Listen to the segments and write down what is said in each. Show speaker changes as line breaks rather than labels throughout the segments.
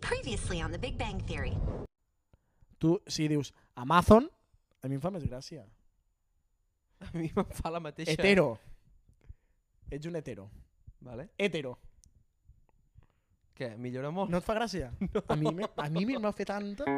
Previously on The Big Bang Theory.
Tu, si dius Amazon, a mi em fa més gràcia.
A mi em fa la mateixa...
Hetero. Ets un hetero.
Vale.
Hetero.
Què? Millora molt?
No et fa gràcia? No. A mi, me- a mi me m'ha fet tanta...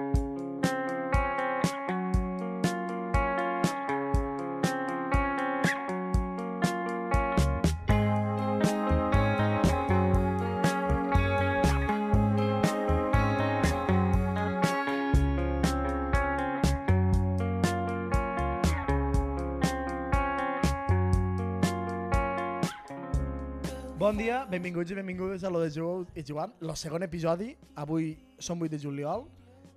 Bon dia, benvinguts i benvingudes a Lo de Jugar i Jugant, el segon episodi. Avui som 8 de juliol.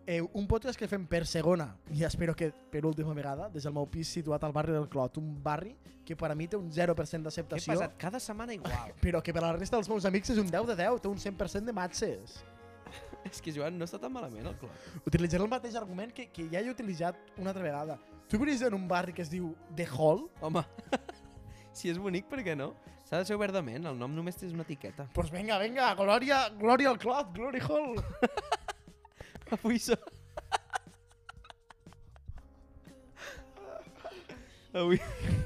Eh, un podcast que fem per segona, i espero que per última vegada, des del meu pis situat al barri del Clot, un barri que per a mi té un 0%
Què he
d'acceptació,
passat? Cada setmana igual.
però que per a la resta dels meus amics és un 10 de 10, té un 100% de matxes.
és que Joan no està tan malament el club.
Utilitzaré el mateix argument que, que ja he utilitzat una altra vegada. Tu vius en un barri que es diu The Hall?
Home, si és bonic, per què no? S'ha de ser obertament, el nom només és una etiqueta.
Pues venga, venga, glòria, glòria al Clot, Glory Hall!
Avui som... Avui...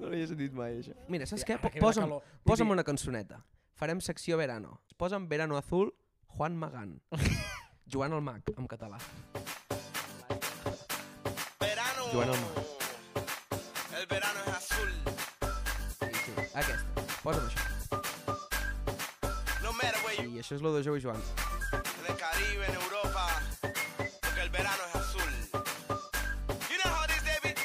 No l'havia sentit mai, això. Mira, saps què?
Ara que ve la
Posa'm,
calor. Vull
posa'm
dir-
una cançoneta. Farem secció verano. Posa'm Verano Azul, Juan Magán. Joan el Mag, en català.
verano.
Joan Olmo.
El verano es azul.
Sí, sí, aquesta. Posa'm això.
No matter where you
I això és lo de Jou i Joan.
en el Caribe, en Europa, porque el verano es azul. You know how this, David?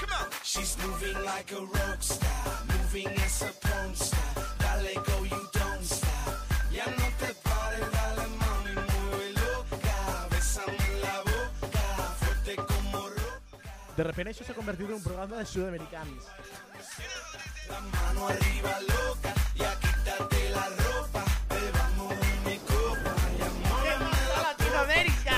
Come on.
She's moving like a rock star, moving as a porn star. Dale go, you don't stop. Ya no te pares, dale mami, muévelo. Bésame la boca, fuerte como roca.
De repente això s'ha convertit en un programa de sud-americans.
La mano arriba loca, ya quítate la ropa. Bebamos una copa, ya muéveme la Latinoamérica.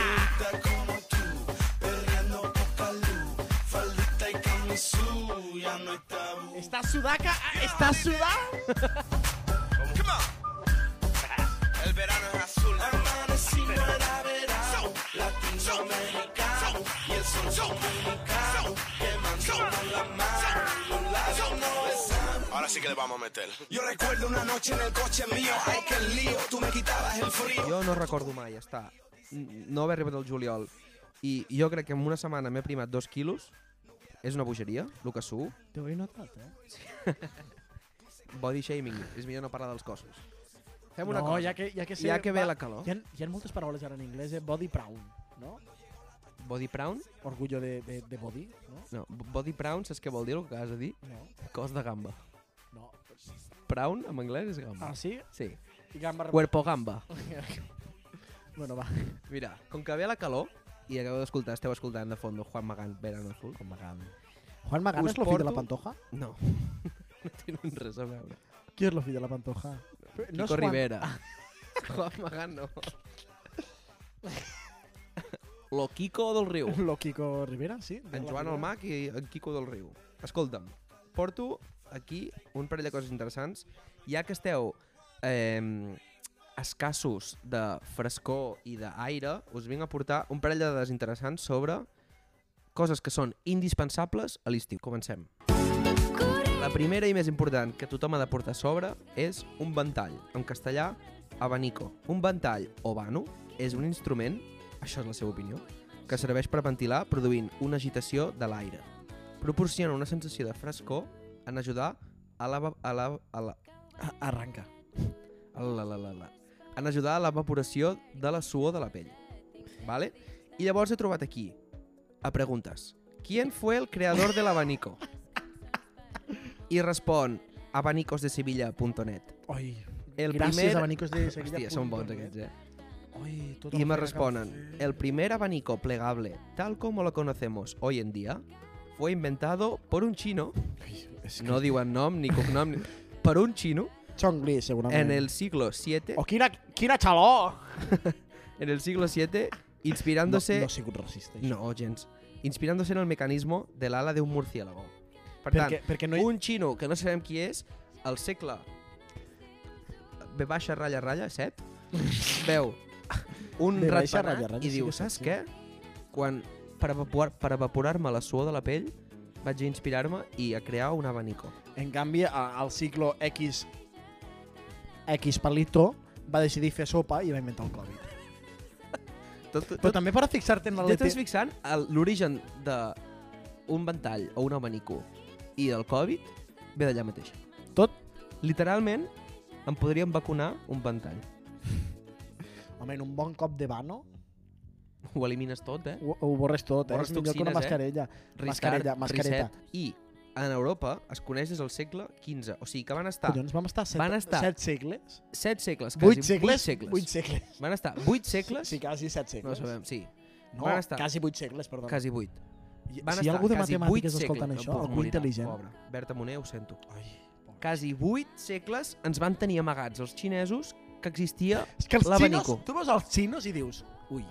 como tú, perreando poca luz. Faldita y camisú, ya no está tabú.
Està sudaca, està sudant!
Come on. El verano es azul.
Amanecí no era verano, latinoamericano y el sol dominicano quemando la mano y los labios no besan.
Ahora sí que le vamos a meter.
Yo recuerdo una noche en el coche mío, ay que lío, tú me quitabas el frío.
Jo no recordo mai estar, n- no haver arribat al juliol, i jo crec que en una setmana m'he primat dos quilos, és una bogeria, el que suo,
T'ho he notat, eh?
body shaming, és millor no parlar dels cossos. Fem
no,
una cosa,
ja que, ja que, sé,
Ja que ve la calor.
Hi ha, hi ha moltes paraules ara en anglès, eh? Body proud, no?
body brown,
Orgullo de, de, de body, no?
no, b- body brown, saps què vol dir el que acabes de dir?
No,
Cos de gamba.
no.
Brown, en anglès, és gamba.
Ah, sí?
Sí.
I gamba...
Cuerpo gamba.
Bueno, va.
Mira, com que ve la calor, i acabeu d'escoltar, esteu escoltant de fondo Juan Magán, Verano Azul. Juan Magán.
Juan Magán
Us
és lo fill de la
porto-
Pantoja?
No, no tenen res a veure.
Qui és lo fill de la Pantoja?
No Kiko Rivera. Juan Magán no. Lo Kiko del Riu.
Lo Kiko Rivera, sí. de
En
la
Joan
Rivera.
el Mac i en Kiko del Riu. Escolta'm, porto aquí un parell de coses interessants. Ja que esteu eh, escassos de frescor i d'aire, us vinc a portar un parell de dades interessants sobre coses que són indispensables a l'estiu. Comencem. La primera i més important que tothom ha de portar a sobre és un ventall. En castellà, abanico. Un ventall o vano és un instrument, això és la seva opinió, que serveix per ventilar produint una agitació de l'aire. Proporciona una sensació de frescor en ajudar a la... va- A la, a la,
A- Arranca.
a la, la, la, la en ajudar a l'evaporació de la suor de la pell. Vale? I llavors he trobat aquí, a preguntes, ¿Quién fue el creador del abanico? I respon abanicosdesevilla.net
Oi,
El
gràcies,
primer...
abanicos de Sevilla.
Hòstia, són bons aquests, eh?
Oi, tot
Y
el
me
que
responden, el primer abanico plegable, tal como lo conocemos hoy en día, fue inventado por un chino, no diuen nom ni cognom, ni- per un chino,
Chongli, segurament.
en el siglo VII,
Oh, quina, quina xaló!
en el siglo VII, inspirándose...
No, no ha sigut racista, això.
No, gens. Inspirándose en el mecanismo de l'ala d'un murciélago. Per tant,
perquè, perquè no hi...
un xino que no sabem qui és, al segle... B baixa ratlla ratlla, 7, veu un
Bé, baixa,
ratpenat
ratlla, ratlla,
i
sí que
diu, saps
sexy."
què? Quan, per evaporar-me per evaporar la suor de la pell, vaig a inspirar-me i a crear un abanico.
En canvi, a- al ciclo X X Palito va decidir fer sopa i va inventar el Covid.
Tot,
Però
tot,
també per a fixar-te en la
ja t'estàs
LT...
fixant el- l'origen de un ventall o un abanico i del Covid ve d'allà mateix.
Tot?
Literalment, em podríem vacunar un ventall.
Home, en un bon cop de vano
Ho elimines tot, eh?
ho, ho borres tot, eh?
Borres
és millor que una
toxines, eh?
mascarella. Mascarella, mascareta.
Risset, I en Europa es coneix des del segle XV. O sigui que van estar
Collons, vam estar set,
Van estar-
set segles?
7 segles, quasi.
Vuit segles?
Vuit segles.
Vuit segles.
Van estar 8 segles.
Sí, quasi set segles.
no ho sabem, sí.
No,
Van estar-
quasi vuit segles, perdó.
Quasi 8. Van
si hi ha
estar
algú de
quasi
matemàtiques
vuit
escoltant
segles.
això,
Pobre,
algú
morirà,
intel·ligent.
Pobre. Berta Moner, ho sento.
Ai, pobre.
Quasi 8 segles ens van tenir amagats els xinesos que existia...
És que els
L'abanico.
xinos, tu veus els xinos i dius, ui,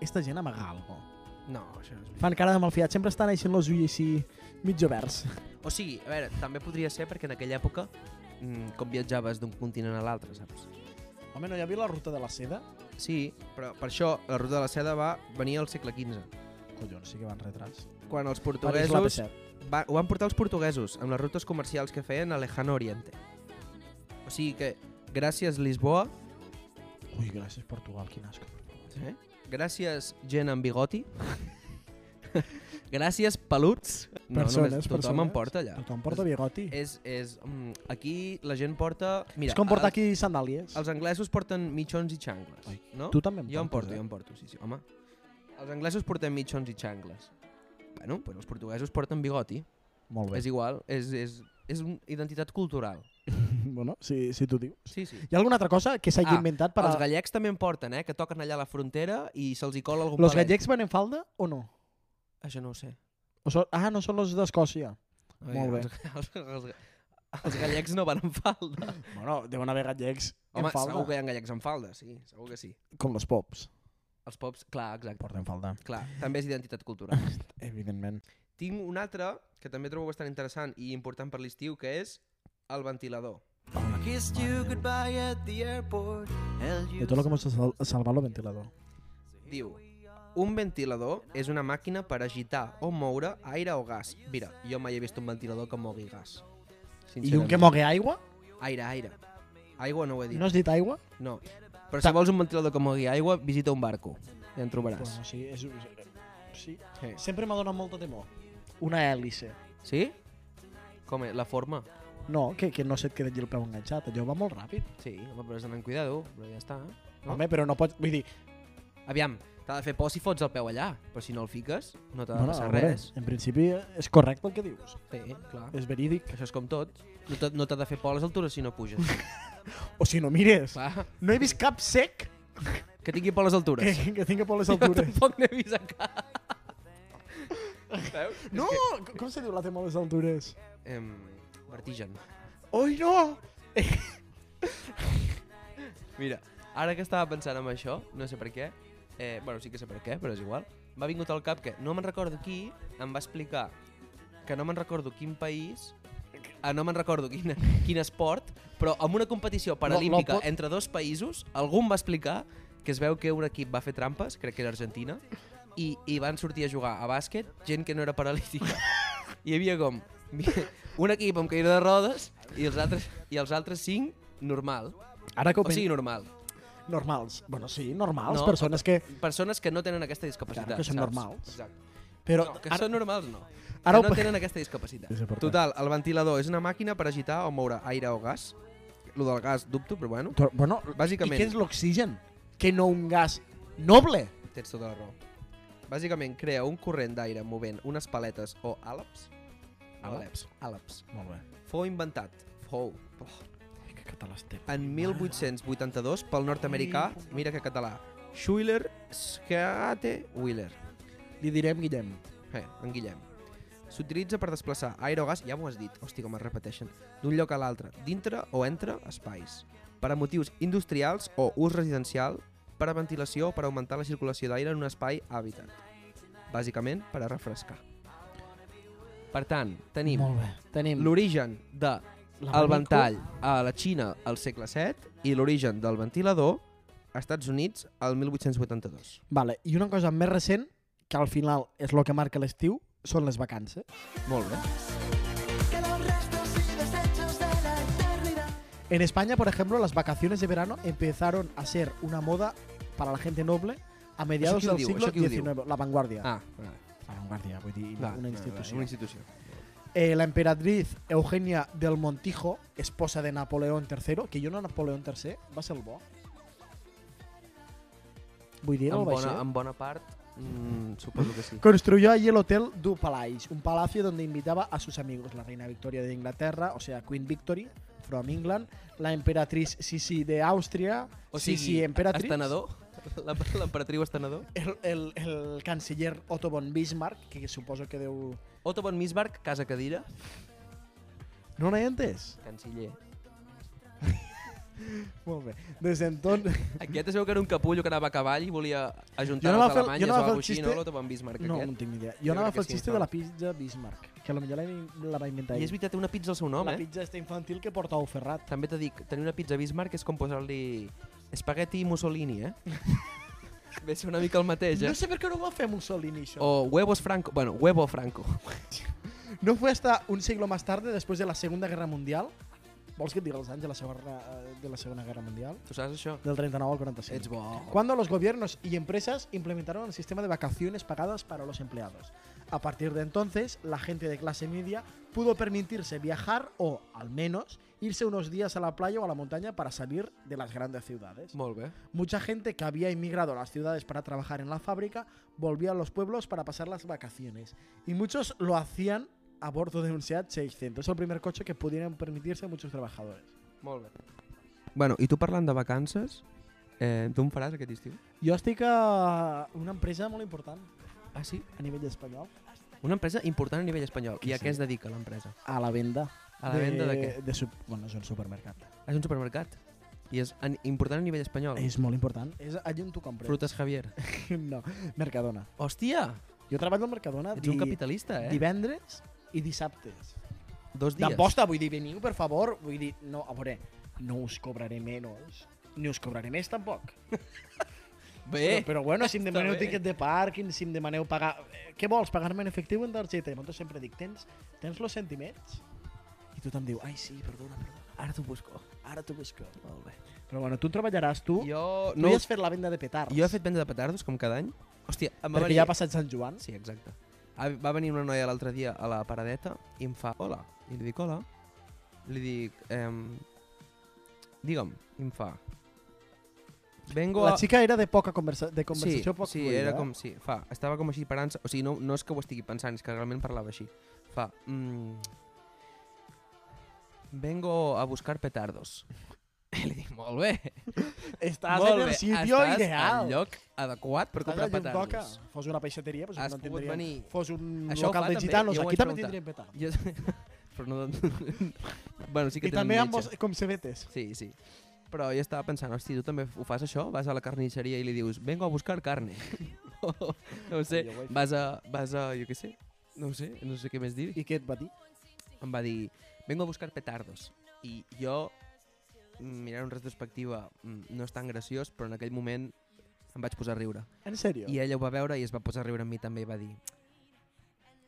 esta gent amaga algo.
No, això és...
Fan cara de malfiat, sempre estan així amb els ulls així mig oberts.
O sigui, a veure, també podria ser perquè en aquella època mm, com viatjaves d'un continent a l'altre, saps?
Home, no hi havia la ruta de la seda?
Sí, però per això la ruta de la seda va venir al segle XV,
Collons, sí que van retrats.
quan els
París
portuguesos
l'AP7.
va, ho van portar els portuguesos amb les rutes comercials que feien a Lejano Oriente. O sigui que gràcies Lisboa,
Ui, gràcies Portugal, quin asco.
eh? gràcies gent amb bigoti, gràcies peluts, no, només tothom en porta allà.
Tothom porta bigoti. És,
És, és, mm, aquí la gent porta... Mira,
és com portar
els-
aquí sandàlies.
Els anglesos porten mitjons i xangles,
Ai,
no?
Tu eh? també en
Jo en porto,
portes,
jo en porto, sí, sí, home. Els anglesos porten mitjons i xangles. Bueno, però els portuguesos porten bigoti.
Eh? Molt bé.
És igual, és, és, és una identitat cultural.
bueno, si, si tu dius.
Sí, sí.
Hi ha alguna altra cosa que s'hagi
Ah,
inventat per
Però...
a...
Els gallecs també en porten, eh? Que toquen allà a la frontera i se'ls hi cola algun
Los
palet.
gallecs van en falda o no?
Això no ho sé.
O són... Ah, no són los d'Escòcia.
Ai,
Molt bé.
Els, els, els, els gallecs no van amb falda.
Bueno, deuen haver gallecs
Home, segur que hi ha gallecs amb falda, sí, segur que sí.
Com los pops.
Els pops, clar, exacte.
Porten falda.
Clar, també és identitat cultural.
Evidentment.
Tinc un altre que també trobo bastant interessant i important per l'estiu, que és el ventilador.
Kissed you goodbye at the airport. Held you
De tot el que hemos sal salvat lo ventilador.
Diu, un ventilador és una màquina per agitar o moure aire o gas. Mira, jo mai he vist un ventilador que mogui gas.
I un que
sincerament.
mogue aigua?
Aire, aire. Aigua no ho he dit.
No has dit aigua?
No. Però si vols un ventilador que mogui aigua, visita un barco. Ja en trobaràs.
Bueno, sí, és... Sí.
Sí?
Sempre m'ha donat molta temor. Una hèlice.
sí? Com és? La forma?
No, que, que no se't quedi allí el peu enganxat. Allò va molt ràpid.
Sí, home, però has d'anar amb cuidado, però ja està. No?
Home, però no pots... Vull dir...
Aviam, t'ha de fer por si fots el peu allà, però si no el fiques, no t'ha de
Bueno,
passar
a veure,
res. Ah.
en principi és correcte el que dius.
Sí, clar.
És verídic.
Això és com tot. No t'ha no t'ha de fer por a les altures si no puges.
O si no mires.
clar.
No he vist cap sec
Que tingui por a les
que,
altures.
que tingui por les
Jo
altures.
tampoc n'he vist a cap. Veus? És
No! Que...
Que,
Com se diu la temor a les altures?
em, vertigen.
Oi, no!
Mira, ara que estava pensant en això, no sé per què, eh, bueno, sí que sé per què, però és igual, m'ha vingut al cap que no me'n recordo qui em va explicar que no me'n recordo quin país eh, no me'n recordo quin, quin esport, però amb una competició paralímpica
pot-
entre dos països, algú em va explicar que es veu que un equip va fer trampes, crec que era Argentina, i, i van sortir a jugar a bàsquet gent que no era paralítica. Hi havia com un equip amb caïda de rodes i els altres, i els altres cinc normal.
Ara que ho
O
penso...
sigui, normal.
Normals. Bueno, sí, normals.
No,
No, persones que...
persones que no tenen aquesta discapacitat.
Clar, que són
saps?
normals.
Exacte.
Però
No, que
ara...
són normals no.
Ara
Ara
ho
que no
pe-
tenen aquesta discapacitat.
És important.
Total, el ventilador és una màquina per agitar o moure aire o gas. Lo del gas dubto, però bueno.
Però, bueno,
Bàsicament,
I què és l'oxigen? Que no un gas noble?
tens tota la raó. Bàsicament, crea un corrent d'aire movent unes paletes o àleps.
Àleps?
Àleps.
Molt bé.
Fou inventat. Fou. Oh.
Ai, que català estem.
En 1882, pel nord-americà, mira que català, Schuyler Scate Wheeler.
Li direm Guillem.
Eh, en Guillem. S'utilitza per desplaçar aire o gas, ja m'ho has dit, hòstia com es repeteixen, d'un lloc a l'altre, dintre o entre espais. Per a motius industrials o ús residencial, per a ventilació o per augmentar la circulació d'aire en un espai hàbitat. Bàsicament, per a refrescar. Per tant, tenim
Molt bé. Tenim
l'origen de el ventall a la Xina al segle VII i l'origen del ventilador Estats Units, el 1882.
Vale, i una cosa més recent, que al final és el que marca l'estiu, són les vacances.
Molt bé.
En España, por ejemplo, las vacaciones de verano empezaron a ser una moda para la gente noble a mediados
¿Eso
del
quién lo diu?
siglo
¿Eso quién lo diu?
XIX. La vanguardia.
Ah, va,
La vanguardia, vull dir,
va,
una
va,
institució.
Una institució.
Eh, la emperatriz Eugenia del Montijo, esposa de Napoleón III, que jo no Napoleón III, va ser el bo. Vull dir,
En
el
bona,
bona,
en bona part, mm, suposo que sí.
Construyó allí el Hotel du Palais, un palacio donde invitaba a sus amigos, la reina Victoria de Inglaterra, o sea, Queen Victory, from England, la emperatriz Sisi de Àustria,
O
Sisi
sigui,
emperatriz,
Estenedor? L'em- L'emperatriu Estenedor?
el, el, el canciller Otto von Bismarck, que suposo que deu...
Otto von Bismarck, casa cadira,
No l'he entès?
canciller.
Molt bé. Des d'entonces...
Aquest es veu que era un capullo que anava a cavall i volia
Jo
ajuntar les
anava a fer-
Alemanyes
jo
o
anava a fer
alguna
el
així,
xiste-
no? L'Otto von Bismarck
No, no en
aquest.
tinc ni idea.
Jo
Jo anava a
crec que
fer el
sí,
xiste
no.
de la pizza Bismarck, que potser la, la va inventar
I
ell.
és veritat, té una pizza al seu nom,
la
eh?
pizza està infantil que porta Ou Ferrat.
També t'he dit, tenir una pizza Bismarck és com posar-li espagueti i Mussolini, eh? Ve a ser una mica el mateix, eh? Oh.
No sé per què no ho va fer Mussolini, això.
O huevos franco, bueno, huevo franco.
No fue hasta un siglo más tarde, después de la Segunda Guerra Mundial. Vols que et digui els anys de la Segona, eh, de la segona Guerra Mundial?
Tu saps això?
Del 39 al
Ets
45.
bo.
Cuando los gobiernos y empresas implementaron el sistema de vacaciones pagadas para los empleados. A partir de entonces, la gente de clase media pudo permitirse viajar o, al menos, irse unos días a la playa o a la montaña para salir de las grandes ciudades.
Molt bé.
Mucha gente que había emigrado a las ciudades para trabajar en la fábrica volvía a los pueblos para pasar las vacaciones. Y muchos lo hacían a bordo de un Seat 600. Es el primer coche que pudieran permitirse muchos trabajadores.
Molt bé. Bueno, i tu parlant de vacances, eh, tu em faràs aquest estiu?
Jo estic a una empresa molt important
Ah, sí?
a nivell espanyol.
Una empresa important a nivell espanyol. I a
Sí.
què es dedica l'empresa?
A la venda.
A la venda de què?
De sup... Bueno, és un supermercat.
És un supermercat. I és an- important a nivell espanyol.
És molt important. És allà on tu compres.
Frutes Javier.
No, Mercadona.
Hòstia!
Jo treballo al Mercadona
Ets un capitalista, eh?
divendres i dissabtes.
Dos dies.
D'aposta, vull dir, veniu, per favor. Vull dir, no, a veure, no us cobraré menys, ni us cobraré més tampoc.
Bé,
però, però bueno, si em demaneu
Eh? bé.
tiquet de pàrquing, si em demaneu pagar... eh, Què vols, pagar-me en efectiu o en targeta? I nosaltres sempre dic, tens, tens los sentiments? I tothom diu, ai sí, perdona, perdona,
ara t'ho busco.
ara t'ho busco.
Molt bé.
Però bueno, tu treballaràs, tu, jo,
Jo,
no,
no,
tu ja has fet la venda de petards.
jo he fet venda de petardos, com cada any. Hòstia, em va
Perquè
venir...
ja ha passat Sant Joan.
Sí, exacte. Ah, Va venir una noia l'altre dia a la paradeta i em fa hola. I li dic hola. Li dic... Ehm, digue'm. I em fa... Vengo
La
a...
xica era de poca conversa de conversació
sí,
poc
sí,
fluida,
era
eh?
com, sí, fa, estava com així parant o sigui, no, no és que ho estigui pensant, és que realment parlava així. Fa, mm, vengo a buscar petardos. I li dic, molt bé,
Estàs en
molt bé,
el sitio
estàs
ideal.
al lloc adequat per comprar
Allà on toca.
petardos.
Fos una peixateria, pues
Has
no
pogut
tindríem...
venir.
Fos un
Això ho
local
fa
de
també,
gitanos,
jo ho
aquí
vaig
també
preguntar.
tindríem petards.
Jo, però no... bueno, sí
I
que tenen
també
metge.
amb vos, com cebetes.
Sí, sí. Però jo estava pensant, hosti, tu també ho fas això? Vas a la carnisseria i li dius, vengo a buscar carne. no ho sé,
Jo ho he fet.
vas a, vas a, jo què sé, no ho sé, no sé què més dir.
I què et va dir?
Em va dir, vengo a buscar petardos. I jo, mm, mirant en retrospectiva, mm, no és tan graciós, però en aquell moment em vaig posar a riure.
En sèrio?
I ella ho va veure i es va posar a riure amb mi també i va dir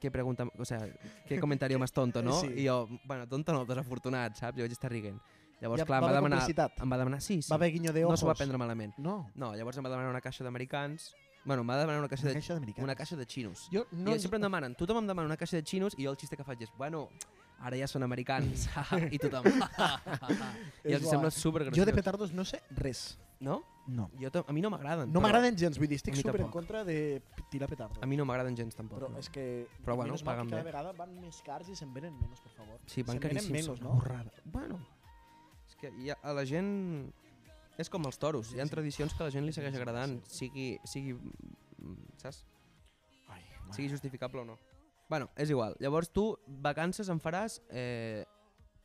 què pregunta, o sea, què comentario más tonto, no?
Sí.
I jo, bueno, tonto no, desafortunat, saps? Jo vaig estar riguent. Llavors,
Ja
clar,
va
em va
haver
demanar...
complicitat?
Em va demanar, sí, sí.
Va haver guinyo de
no
ojos.
s'ho va prendre malament.
No,
No, llavors em va demanar una caixa d'americans. Bueno, em va demanar una caixa
una
de...
caixa d'americans.
Una caixa de xinos.
Jo
No,
no...
I sempre em demanen, tothom em demana una caixa de xinos i jo el xiste que faig és, bueno, ara ja són americans. I tothom... I
És
els
bo.
sembla supergraciós.
Jo de petardos no sé res.
No?
No.
Jo to- a mi no m'agraden.
No
però
m'agraden gens, vull dir,
A
estic
mi
super en
tampoc.
contra de tirar petardos.
A mi no m'agraden gens, tampoc.
Però
no.
és que...
Però bueno,
menys mal que
paguen
cada
bé.
vegada van més cars i se'n venen menys, per favor.
Sí, van
Se'n venen
caríssims.
menys,
són
no?
una Borrada. Bueno, és que hi ha, a la gent... És com els toros, hi ha tradicions que a la gent li segueix agradant, sigui, sigui, mm, saps?
Ai,
sigui justificable o no. Bueno, és igual. Llavors tu vacances en faràs eh,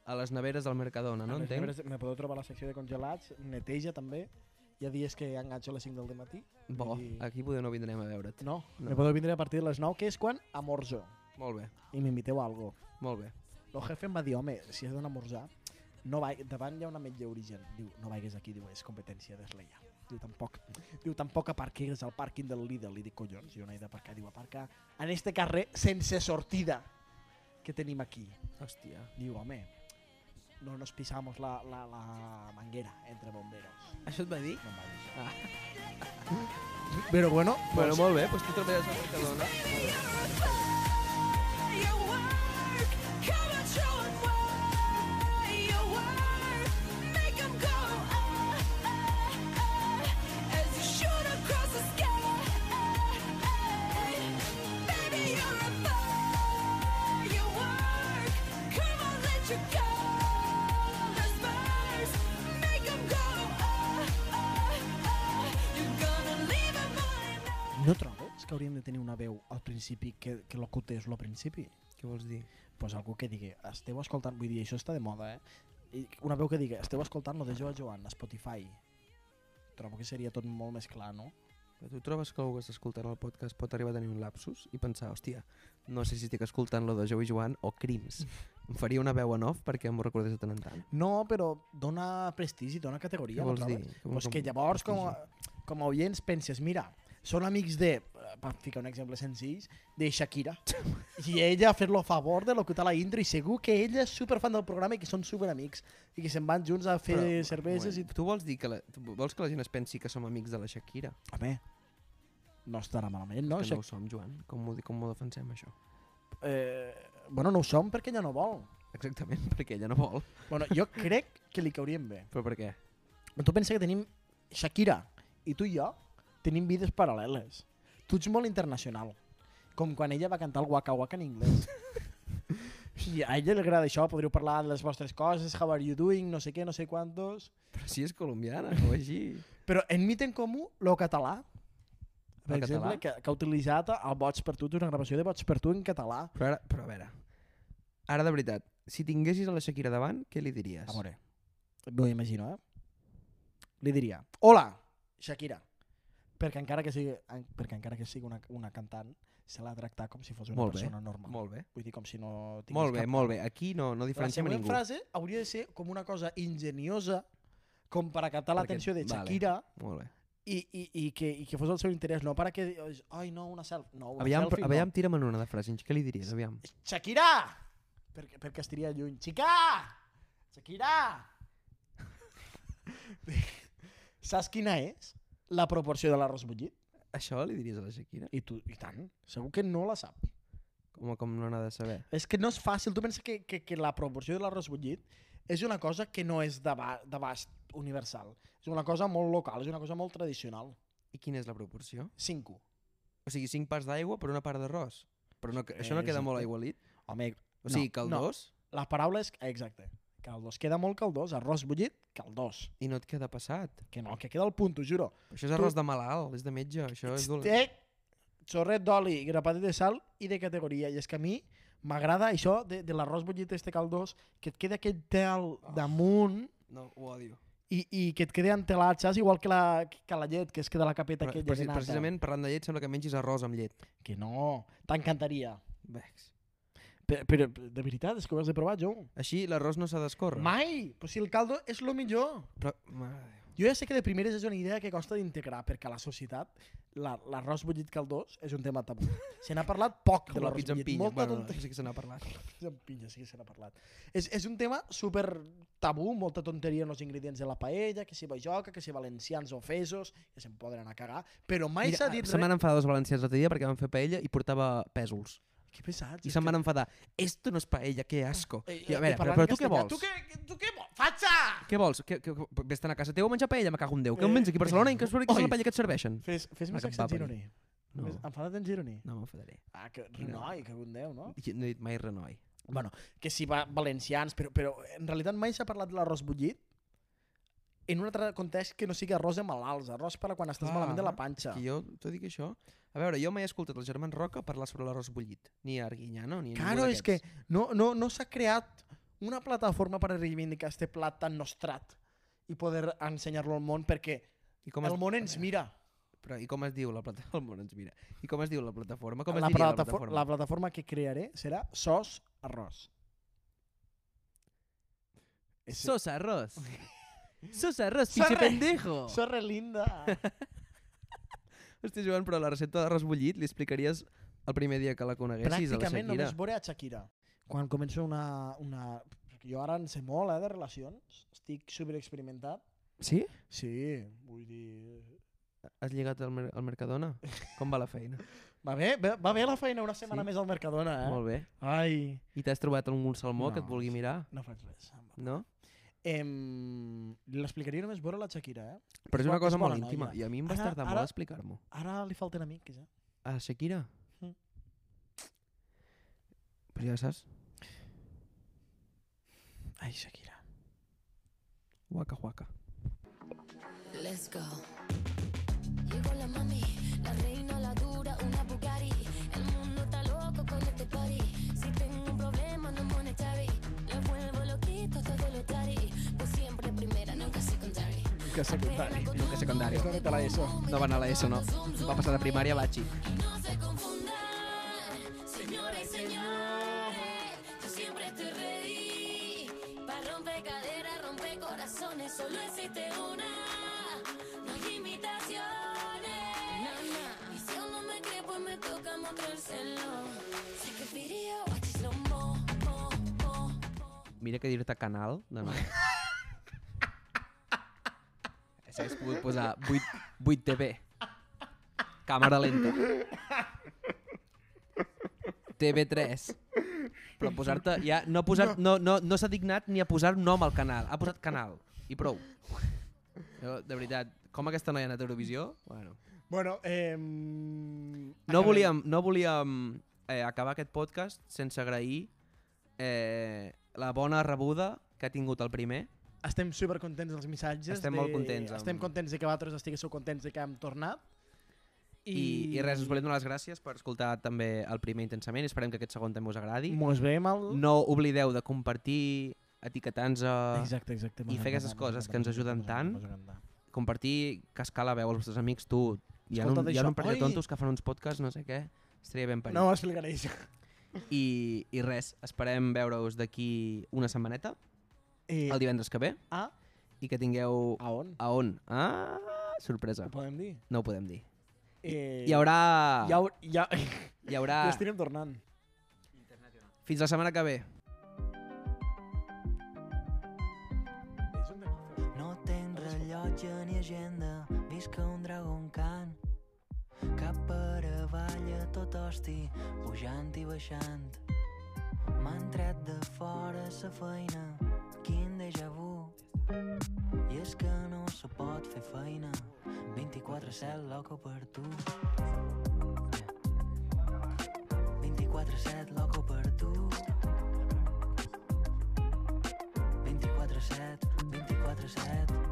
a les neveres del Mercadona, no?
A les
Entenc?
neveres Me podeu trobar a la secció de congelats, neteja també. Hi ha dies que enganxo a les 5 del matí.
Bo,
i-
aquí poder no vindrem a veure't.
No,
No.
no. me podeu vindre a partir de les 9, que és quan amorzo.
Molt bé,
I m'inviteu a algo.
molt bé.
El jefe em va dir, home, si has d'anar a morzar, no va, davant hi ha una metge origen. Diu, no vaigues aquí, diu, és competència deslleial. Diu, tampoc, diu, tampoc aparquis al pàrquing del Lidl. Li dic, collons, jo no he d'aparcar. Diu, aparca en este carrer sense sortida que tenim aquí.
Hòstia.
Diu, home, no nos pisamos la, la, la manguera entre bomberos.
Això et va dir?
No em va dir això.
Ah.
Però bueno,
Bueno, molt bé, doncs tu treballes a Mercadona.
uh, uh,
no trobes que hauríem de tenir una veu al principi que, que locutés lo principi?
Què vols dir?
pues algú que digui, esteu escoltant, vull dir, això està de moda, eh? I una veu que digui, esteu escoltant lo de Joa Joan, a Spotify. Trobo que seria tot molt més clar, no?
Però tu trobes que algú que està escoltant el podcast pot arribar a tenir un lapsus i pensar, hòstia, no sé si estic escoltant lo de Joey Joan o Crims. em faria una veu en off perquè em ho recordés de tant en tant.
No, però dona prestigi, dona
Què
categoria. no
vols dir?
trobes?
Què vols
Pues que
com-
llavors, com a,
prestigi?
com a oients, penses, mira, són amics de, eh, per ficar un exemple senzill, de Shakira. I ella ha fet lo favor de locutar la intro i segur que ella és superfan del programa i que són superamics i que se'n van junts a fer
Però,
cerveses i...
bueno, Tu vols dir que la, tu vols que la gent es pensi que som amics de la Shakira?
Home, no estarà malament, no?
que
Shak-
no ho som, Joan. Com ho, di- com ho defensem, això?
eh, bueno, no ho som perquè ella no vol.
Exactament, perquè ella no vol.
Bueno, jo crec que li caurien bé.
Però per què?
Però tu pensa que tenim Shakira i tu i jo tenim vides paral·leles. Tu ets molt internacional. Com quan ella va cantar el Waka Waka en anglès. I a ella li agrada això, podríeu parlar de les vostres coses, how are you doing, no sé què, no sé quantos...
Però si és colombiana, o així.
Però en mi té en comú lo català. Per
El
exemple,
català?
Que, que ha utilitzat el Bots per tu, té una gravació de Bots per tu en català.
Però, ara, però a veure, ara de veritat, si tinguessis a la Shakira davant, què li diries?
A veure, m'ho imagino, eh? Li diria, hola, Shakira. Perquè encara que sigui, en- perquè encara que sigui una, una cantant, se l'ha de tractar com si fos una
Molt bé,
persona normal.
Molt bé.
Vull dir, com si no tingués
Molt bé,
cap...
molt bé. Aquí no, no
La
diferenciem a
següent
ningú.
frase hauria de ser com una cosa ingeniosa, com per a captar
Perquè-
l'atenció de
vale.
Shakira
Molt bé.
i, i, i, que, i que fos el seu interès, no per a que... diguis, Ai, no, una selfie. No, una
Aviam,
selfie,
però- aviam, tira'm en una de frase. Què li diries? Aviam.
No. Shakira! Perquè, perquè estaria lluny. Xica! Shakira! Saps quina és la proporció de l'arròs bullit?
Això li diries a la Shakira?
I tu, i tant, segur que no la sap.
Com, com no n'ha de saber.
És que no és fàcil. Tu pensa que, que, que la proporció de l'arròs bullit és una cosa que no és d'aba- d'abast universal. És una cosa molt local, és una cosa molt tradicional.
I quina és la proporció?
5.
O sigui, 5 parts d'aigua per una part d'arròs. Però no, que- això no
Eh,
queda molt
exacte.
aigualit.
Home,
O
no,
sigui,
no.
caldós
la paraula és... Exacte. Caldós. Queda molt caldós. Arròs bullit, caldós.
i no et queda passat.
Que no, que queda el punt, t'ho juro.
Això és arròs de malalt, és de metge, això és dolent.
Steak, xorret d'oli, grapadet de sal i de categoria. I és que a mi m'agrada això de, de l'arròs bullit este caldós, que et queda aquest tel
Ah.
damunt
No, ho odio.
i, i que et quede entelat, saps? Igual que la, que la llet, que es queda la capeta
Però,
aquella
preci-
de nata.
precisament, parlant de llet, sembla que mengis arròs amb llet.
Que no, t'encantaria.
Vex.
Però, però, de veritat, és que ho has de provar, jo.
Així l'arròs no s'ha d'escórrer.
Mai! Però si el caldo és lo millor.
Però, mare de Déu.
Jo ja sé que de primeres és una idea que costa d'integrar, perquè a la societat la- l'arròs bullit caldós és un tema tabú. Se n'ha parlat poc de
Com la
l'arròs
pizza amb
bullit.
pinya.
Molta
Bueno,
tonteria.
això sí que se n'ha parlat.
Pizza amb pinya, sí que se n'ha parlat. És, és un tema super tabú, molta tonteria en els ingredients de la paella, que si bajoca, que si valencians o fesos, que se'n poden anar a cagar, però mai
Mira, eh,
s'ha dit
se
res.
m'han enfadat els valencians l'altre dia perquè van fer paella i portava pèsols.
Que pesats.
I
és
se'n
que-
van enfadar. Esto no es paella, que asco.
Eh, eh,
I a veure,
eh,
però,
parlant
però
en
tu què
castellà,
vols?
Tu què, tu què vols? Fatxa!
Què vols? Que, que, que vés a casa teva a menjar paella, me cago en Déu. Que em
Eh,
vens aquí a Barcelona i que és
oi.
la paella que et serveixen?
Fes, fes més
que em va
accent
parir.
gironí.
No,
Fes- Enfada't en gironí.
no m'enfadaré.
Ah, que renoi, que bon Déu, no?
Jo No he dit mai renoi.
bueno, que si va valencians, però, però en realitat mai s'ha parlat de l'arròs bullit en un altre context que no sigui arròs de malalts, arròs per a quan estàs
Clar,
malament de la panxa.
Que jo t'ho dic això. A veure, jo mai he escoltat el Germán Roca parlar sobre l'arròs bullit, ni a Arguinyano, ni a
Claro,
ningú
és que no, no, no s'ha creat una plataforma per a reivindicar este plat tan nostrat i poder ensenyar-lo al món perquè
I com, es,
el món ens mira.
però, I com es diu la plataforma? El món ens mira. I com es diu la plataforma? Com es
la,
diria
platafor-
la plataforma?
la plataforma que crearé serà Sos Arròs. Ese-
Sos arroz. Sos arroz, pinche
Sorre.
pendejo.
Sorre linda.
Hòstia, Joan, però la recepta d'arròs bullit li explicaries el primer dia que la coneguessis a la
Pràcticament
Shakira.
només veure a Shakira. Quan començo una... una... perquè Jo ara en sé molt, eh, de relacions. Estic superexperimentat.
Sí?
Sí, vull dir...
Has lligat al, mer al Mercadona? Com va la feina?
Va bé, va va bé la feina una setmana
Sí?
més al Mercadona, eh?
Molt bé.
Ai,
I t'has trobat algun salmó que
No.
et vulgui mirar?
no faig res. em va.
No?
Em... L'explicaria només veure la Shakira, eh?
Però és
bo-
una cosa
és bona
molt íntima
noia.
i a mi em vas
Ara-
tardar
ara-
molt a explicar-m'ho.
Ara li falten amics, eh?
A Shakira?
Mm.
Però ja saps.
Ai, Shakira.
Waka waka.
Let's go. Llegó la mami, la reina, la dura, una Bugatti. El mundo está loco con este party. Si tengo un problema, no monetary. Lo vuelvo loquito, todo lo tari. Pues siempre primera, nunca secondary.
Que secundari.
Nunca secundari.
És la neta la ESO.
E. No va anar a l'ESO, no. Va passar de primària a batxi.
Y no se confundan, señores y señores. Yo siempre estoy ready. Para romper caderas, romper corazones. Solo existe una. No hay imitaciones. Y si aún no me cree, pues me toca mostrárselo. Sí que video, watch it slow mo, mo, mo, mo.
Mira que dir-te canal de nou. S'hagués pogut posar 8, 8 TV. Càmera lenta. TV3. Però posar-te... Ja, no ha posat, no, no, no s'ha dignat ni a posar nom al canal. Ha posat canal. I prou. Jo, de veritat, com aquesta noia ha anat a Eurovisió? Bueno.
Bueno, eh...
No volíem, no volíem eh, acabar aquest podcast sense agrair eh, la bona rebuda que ha tingut el primer.
Estem supercontents dels missatges.
Estem
de...
molt contents amb-
Estem contents de que vosaltres estiguéssiu contents de que hem tornat.
I, I res, us volem donar les gràcies per escoltar també el primer intensament. Esperem que aquest segon també us agradi.
Mos veiem al...
No oblideu de compartir, etiquetar-nos, a
Exacte, exacte.
i fer aquestes coses que ens ajuden tant. compartir, cascar la veu als vostres amics. Tu, hi ha, un,
Escolta't
hi ha
això.
un parell
Oi!
de tontos que fan uns podcasts, no sé què. Estaria ben parit.
No ho explicaré això.
I, I res, esperem veure-us d'aquí una setmaneta,
Eh,
el divendres que ve,
a,
i que tingueu
a on?
A on? Ah, sorpresa.
Ho podem dir?
No ho podem dir.
Eh,
Hi haurà... Ah.
Hi, haur, hi, ha,
Hi haurà...
hi estirem tornant.
Fins la setmana que ve.
No tenc rellotge ni agenda, visc un dragon can. Cap per avall a tot hosti, pujant i baixant. M'han tret de fora sa feina, quin déjà vu. I és que no se pot fer feina, 24-7 loco per tu. 24-7 loco per tu. 24-7, 24-7.